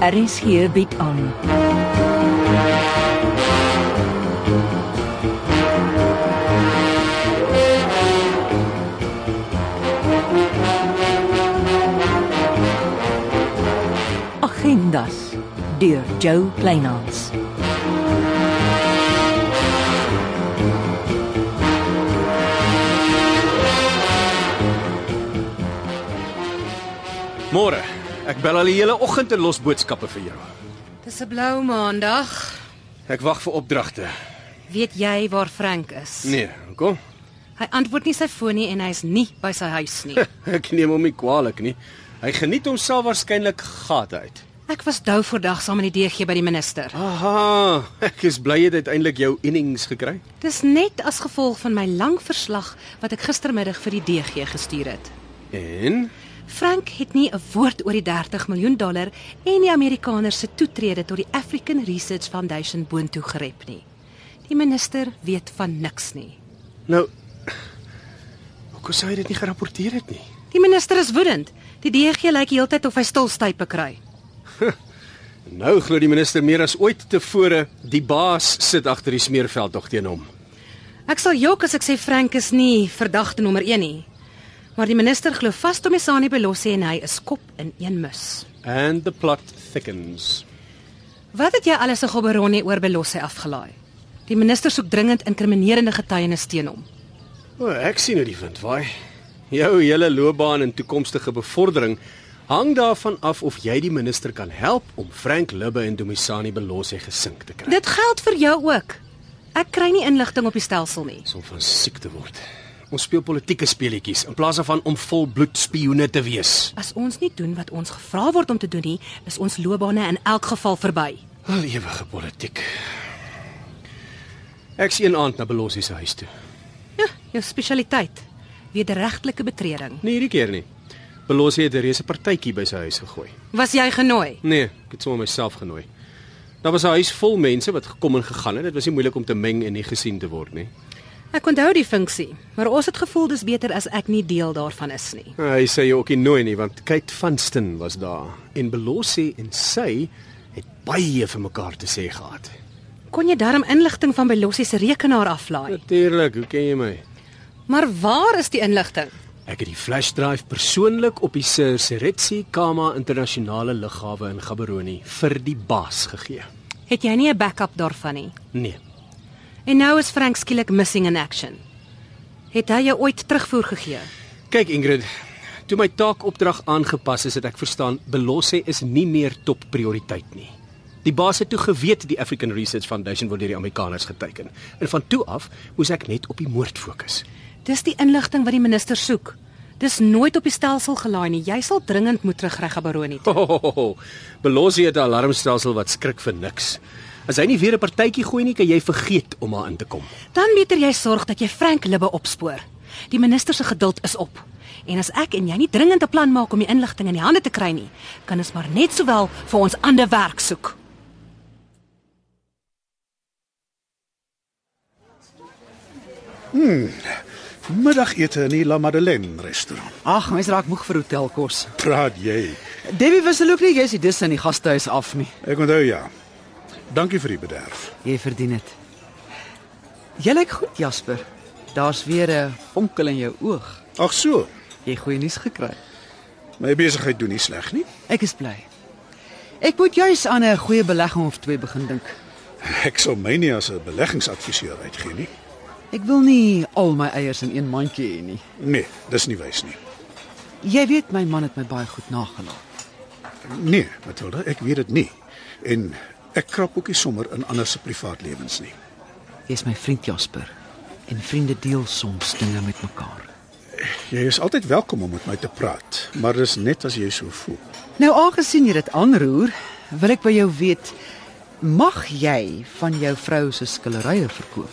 RSG bied aan. Agendas deur Jo Kleinhans. Môre. Ek bel al die hele oggend en los boodskappe vir jou. Dis 'n blou maandag. Ek wag vir opdragte. Weet jy waar Frank is? Nee, kom. Hy antwoord nie sy foon nie en hy's nie by sy huis nie. Ek neem hom nie kwaadlik nie. Hy geniet homself waarskynlik gate uit. Ek was dou voordag saam met die DG by die minister. Aha, ek is bly jy het uiteindelik jou innings gekry. Dis net as gevolg van my lang verslag wat ek gistermiddag vir die DG gestuur het. En Frank het nie 'n woord oor die 30 miljoen dollar en die Amerikaners se toetrede tot die African Research Foundation boontoe gerep nie. Die minister weet van niks nie. nou Hoekom sou hy dit nie gerapporteer het nie? Die minister is woedend. Die DG lyk heeltyd of hy stilstype kry. Nou glo die minister meer as ooit tevore, die baas sit agter die smeerveld tog teen hom. Ek sal jok as ek sê Frank is nie verdagte nommer 1 nie. Maar die minister glo vas Tomesani Belossi en hy is kop in een mus. And the plot thickens. Wat het jy alles se gobberoni oor Belossi afgelaai? Die minister soek dringend inkriminerende getuienis teen hom. O, ek sien hoe die wind waai. Jou hele loopbaan en toekomstige bevordering hang daarvan af of jy die minister kan help om Frank Lubbe en Domisani Belossi gesink te kry. Dit geld vir jou ook. Ek kry nie inligting op die stelsel nie. Dis om van siek te word. Ons speel politieke speletjies in plaas daarvan om volbloed spioene te wees. As ons nie doen wat ons gevra word om te doen nie, is ons loopbane in elk geval verby. Al ewige politiek. Ek's een aand na Belossi se huis toe. Ja, jou spesialiteit. Wederregtelike betreding. Nie hierdie keer nie. Belossi het 'n reuse partytjie by sy huis gegooi. Was jy genooi? Nee, ek het sommer myself genooi. Daar was 'n huis vol mense wat gekom en gegaan het. Dit was nie moeilik om te meng en nie gesien te word nie. Ek onthou die funksie, maar ons het gevoel dis beter as ek nie deel daarvan is nie. Nou, Hy sê jy ook nie nooi nie want Kate Vanston was daar en Belossi en sy het baie vir mekaar te sê gehad. Kon jy darm inligting van Belossi se rekenaar aflaai? Natuurlik, hoe ken jy my? Maar waar is die inligting? Ek het die flash drive persoonlik op die Sir Seretsi Kama internasionale lughawe in Gaborone vir die baas gegee. Het jy nie 'n backup daarvan nie? Nee, En nou is Frank skielik missing in action. Het hy jou ooit terugvoer gegee? Kyk Ingrid, toe my taakopdrag aangepas is, het ek verstaan Belossi is nie meer top prioriteit nie. Die baas het toe geweet die African Research Foundation word deur die Amerikaners geteken. En van toe af moes ek net op die moord fokus. Dis die inligting wat die minister soek. Dis nooit op die stelsel gelaai nie. Jy sal dringend moet terugreg Gaborone toe. Hohoho, Belossi het 'n alarmstelsel wat skrik vir niks. As hy nie weer 'n partytjie gooi nie, kan jy vergeet om daar in te kom. Dan beter jy sorg dat jy Frank Libbe opspoor. Die minister se geduld is op. En as ek en jy nie dringend 'n plan maak om die inligting in die hande te kry nie, kan ons maar net sowel vir ons ander werk soek. Middagete in die La Madeleine restaurant. Ag, mens raak moeg vir hotelkos. Praat jy. Debbie wissel ook nie jy's die dis in die gastehuis af nie. Ek onthou ja. Dankie vir die bederf. Jy verdien dit. Jy lyk goed, Jasper. Daar's weer 'n vonkel in jou oog. Ag so. Jy het goeie nuus gekry. My besigheid doen nie sleg nie. Ek is bly. Ek moet juis aan 'n goeie belegging of twee begin dink. Ek sal my nie as 'n beleggingsadviseur uitgee nie. Ek wil nie al my eiers in een mandjie hê nie. Nee, dis nie wys nie. Jy weet my man het my baie goed nagelaat. Nee, Matilda, ek weet dit nie. En ek krap ook nie sommer in ander se privaat lewens nie. Jy's my vriend Jasper en vriende deel soms dinge met mekaar. Jy is altyd welkom om met my te praat, maar dis net as jy so voel. Nou aangesien jy dit aanroer, wil ek by jou weet, mag jy van jou vrou se skilderye verkoop?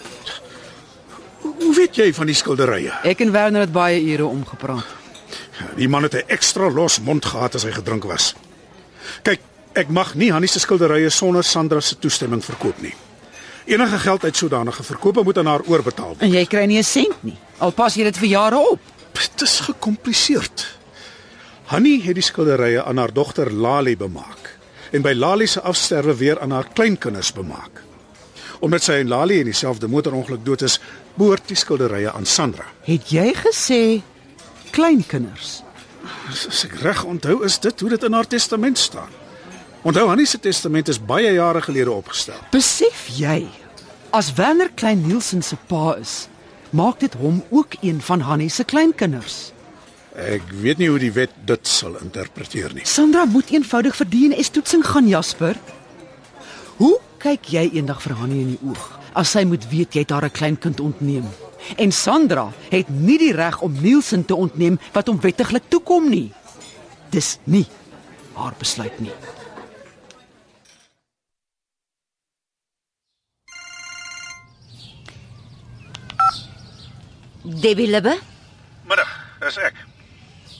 Hoe- Hoe weet jy van die skilderye? Ek en Werner het baie ure omgepraat. Die man het 'n ekstra los mond gehad as hy gedrink was. Kyk, ek mag nie Hannie se skilderye sonder Sandra se toestemming verkoop nie. Enige geld uit sodanige verkope moet aan haar oorbetaal word. En jy kry nie 'n sent nie. Al pas jy dit vir jare op. Dit is gekompliseerd. Hannie het die skilderye aan haar dogter Lali bemaak en by Lali se afsterwe weer aan haar kleinkinders bemaak. Omdat sy en Lali in dieselfde motorongeluk dood is, behoort die skilderye aan Sandra. Het jy gesê kleinkinders? As, as ek reg onthou, is dit hoe dit in haar testament staan. Onthou Hannie se testament is baie jare gelede opgestel. Besef jy as Werner Klein Nielsen se pa is, maak dit hom ook een van Hannie se kleinkinders. Ek weet nie hoe die wet dit sal interpreteer nie. Sandra moet eenvoudig vir DNS toetsing gaan Jasper. Hoe kyk jy eendag vir Hannie in die oog as sy moet weet jy het haar 'n kleinkind ontneem? En Sandra het nie die reg om Nielsen te ontneem wat hom wettiglik toekom nie. Dis nie haar besluit nie. Debbie Libbe? Middag, dis ek.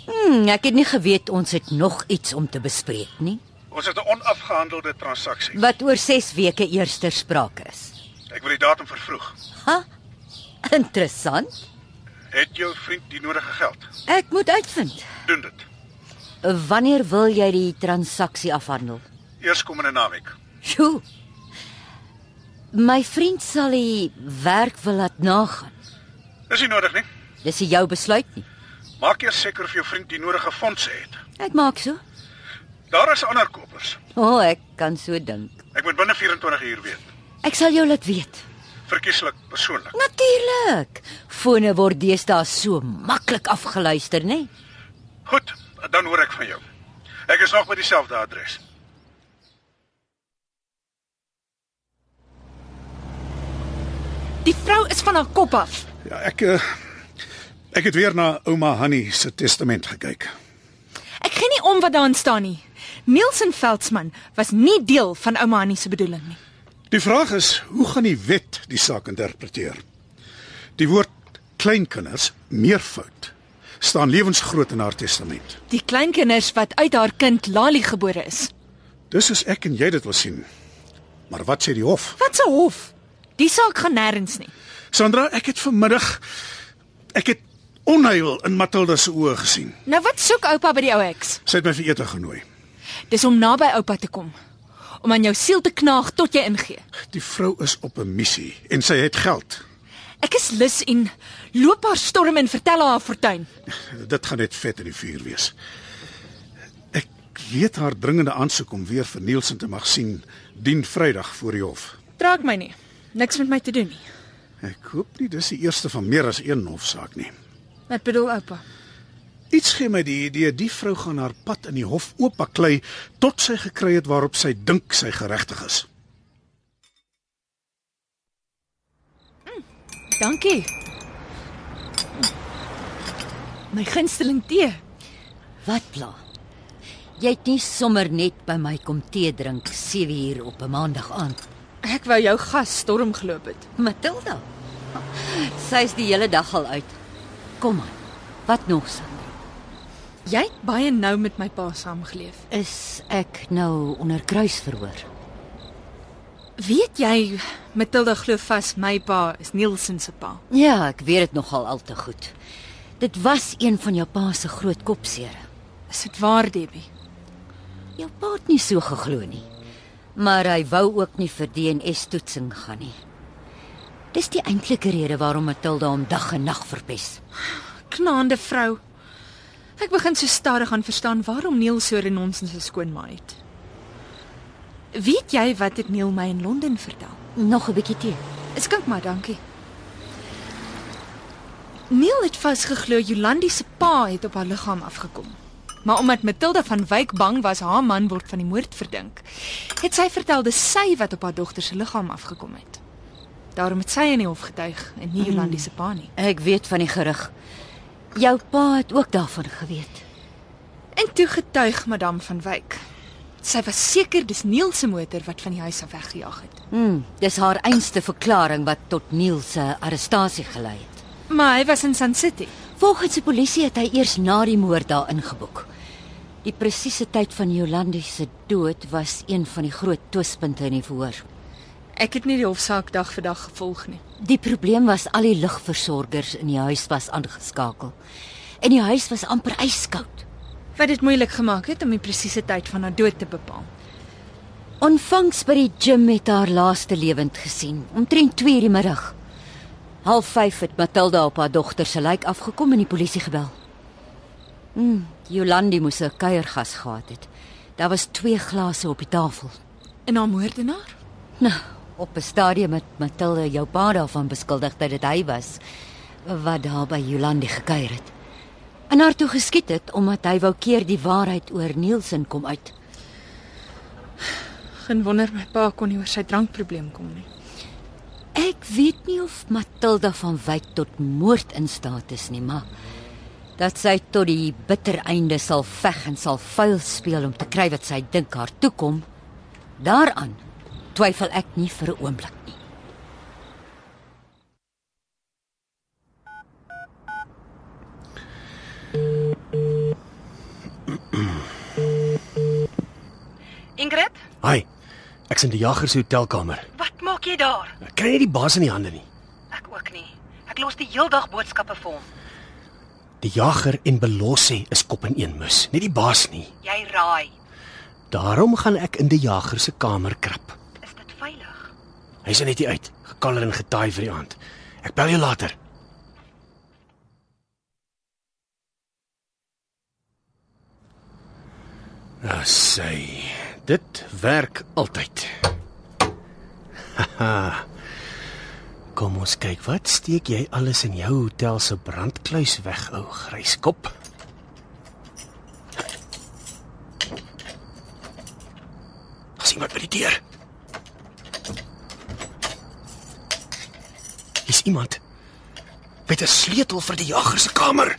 Hmm, ek het nie geweet ons het nog iets om te bespreek nie. Ons het 'n onafgehandelde transaksie. Wat oor 6 weke eers ter sprake is. Ek wil die datum vervroeg. Interessant. Het jou vriend die nodige geld? Ek moet uitvind. Doen dit. Wanneer wil jy die transaksie afhandel? Eerskomende naweek. Sjoe. My vriend sal die werk wil laat nagaan. Dis nie nodig nie. Dis nie jou besluit nie. Maak eers seker of jou vriend die nodige fondse het. Ek maak so. Daar is ander kopers. O, oh, ek kan so dink. Ek moet binne 24 uur weet. Ek sal jou laat weet. Verkieslik persoonlik. Natuurlik. Fone word deesdae so maklik afgeluister, nê? Goed, dan hoor ek van jou. Ek is nog by dieselfde adres. Die vrou is van haar kop af. Ja, ek eh, ek het weer na ouma Hanni se testament gekyk. Ek gee nie om wat daarin staan nie. Nielsen Veldsmann was nie deel van ouma Annie se bedoeling nie. Die vraag is, hoe gaan die wet die saak interpreteer? Die woord kleinkinders, meervoud, staan lewensgroot in haar testament. Die kleinkinders wat uit haar kind Lali gebore is. Dis soos ek en jy dit wil sien. Maar wat sê die hof? Wat 'n hof. Die saak gaan nêrens nie. Sandra, ek het vanmiddag ek het onheil in Matilda se oë gesien. Nou wat soek oupa by die ou heks? Sy het my vir ete genooi. Dis om naby oupa te kom. Om aan jou siel te knaag tot jy ingee. Die vrou is op 'n missie en sy het geld. Ek is lus en loop haar storm en vertel haar haar fortuin. Dit gaan net vet in die vuur wees. Ek weet haar dringende aansoek om weer vir Nielsen te mag sien dien Vrydag voor die hof. Draak my nie. Niks met my te doen nie. Ek hoop nie dis die eerste van meer as een hofsaak nie. Wat bedoel oupa? Iets gee my die idee die vrou gaan haar pad in die hof ooppaklei tot sy gekry het waarop sy dink sy geregtig is. Dankie. My gunsteling tee. Wat pla? Jy het nie sommer net by my kom tee drink 7 uur op 'n maandag aand. Ek wou jou gas storm geloop het. Matilda. Sy's die hele dag al uit. Kom aan. Wat nog? Sandra? Jy het baie nou met my pa saamgeleef. Is ek nou onder kruisverhoor? Weet jy, Matilda glo vas my pa is Nielsen se pa. Ja, ek weet dit nogal al te goed. Dit was een van jou pa se groot kopsere. Is dit waar, Debbie? Jou pa het nie so geglo nie. Maar hy wou ook nie vir DNS toetsing gaan nie. Dis die eintlike rede waarom Matilda hom dag en nag verpes. Knaande vrou. Ek begin so stadig aan verstaan waarom Neil so renonsens se skoonma het. Weet jy wat het Neil my in Londen vertel? Nog 'n bietjie tee. Ek skink maar, dankie. Neil het vasgeglo Jolandi se pa het op haar liggaam afgekom. Maar omdat Matilda van Wyk bang was haar man word van die moord verdink, het sy vertel dis sy wat op haar dogter se liggaam afgekom het. Daarom het sy in die hof getuig en nie Jolandi se pa nie. Ek weet van die gerug. Jou pa het ook daarvan geweet. En toe getuig madame van Wyk. Sy was seker dis Neil se motor wat van die huis af weggejaag het. Hm, dis haar einste verklaring wat tot Neil se arrestasie gelei het. Maar hy was in San City. Volgens die polisie het hy eers na die moord daar ingeboek. Die presiese tyd van Jolandi se dood was een van die groot twispunte in die verhoor. Ek het nie die hofsaak dag vir dag gevolg nie. Die probleem was al die ligversorgers in die huis was aangeskakel. En die huis was amper yskoud. Wat dit moeilik gemaak het om die presiese tyd van haar dood te bepaal. Onvangs by die gim het haar laaste lewend gesien, omtrent 2:00 die middag. Half 5 het Matilda op haar dogter se lijk afgekom en die polisie gebel. Mm, Jolandi moes 'n kuiergas gehad het. Daar was 2 glase op die tafel. En haar moordenaar? Nou, op 'n stadium het Matilda jou pa daarvan beskuldig dat dit hy was wat daar by Jolandi gekuier het. En haar toe geskiet het omdat hy wou keer die waarheid oor Nielsen kom uit. Geen wonder my pa kon nie oor sy drankprobleem kom nie. Ek weet nie of Matilda van Wyk tot moord in staat is nie, maar dat sy tot die bitter einde sal veg en sal vuil speel om te kry wat sy dink haar toekom, daaraan twyfel ek nie vir 'n oomblik nie. Ingrid, Hi. Ek's in die jager se hotelkamer. wat maak jy daar? Ek kry net die baas in die hande nie. Ek ook nie. Ek los die heeldag boodskappe vir hom. Die jager en Belossie is kop in een mus, nie die baas nie. Jy raai. Daarom gaan ek in die jager se kamer krap. Is dit veilig? Hy's net hier uit, gekaller en getaai vir die aand. Ek bel jou later. Asai. Ah, Dit werk altyd. Haha. Kom ons kyk, wat steek jy alles in jou hotel se brandkluis weg, ou gryskop? As iemand by die deur. Hier's iemand met 'n sleutel vir die jager se kamer.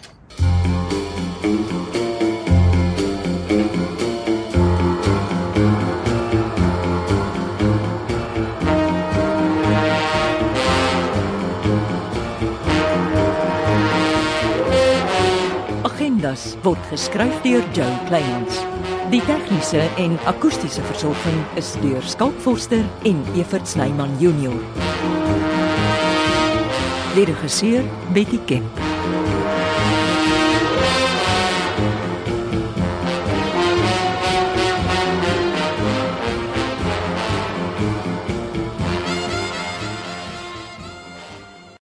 Agendas word geskryf deur Joe Kleinhans. Die tegniese en akoestiese versorging is deur Skalk Forster en Evert Snyman Junior. Lede geseer Betty Kemp.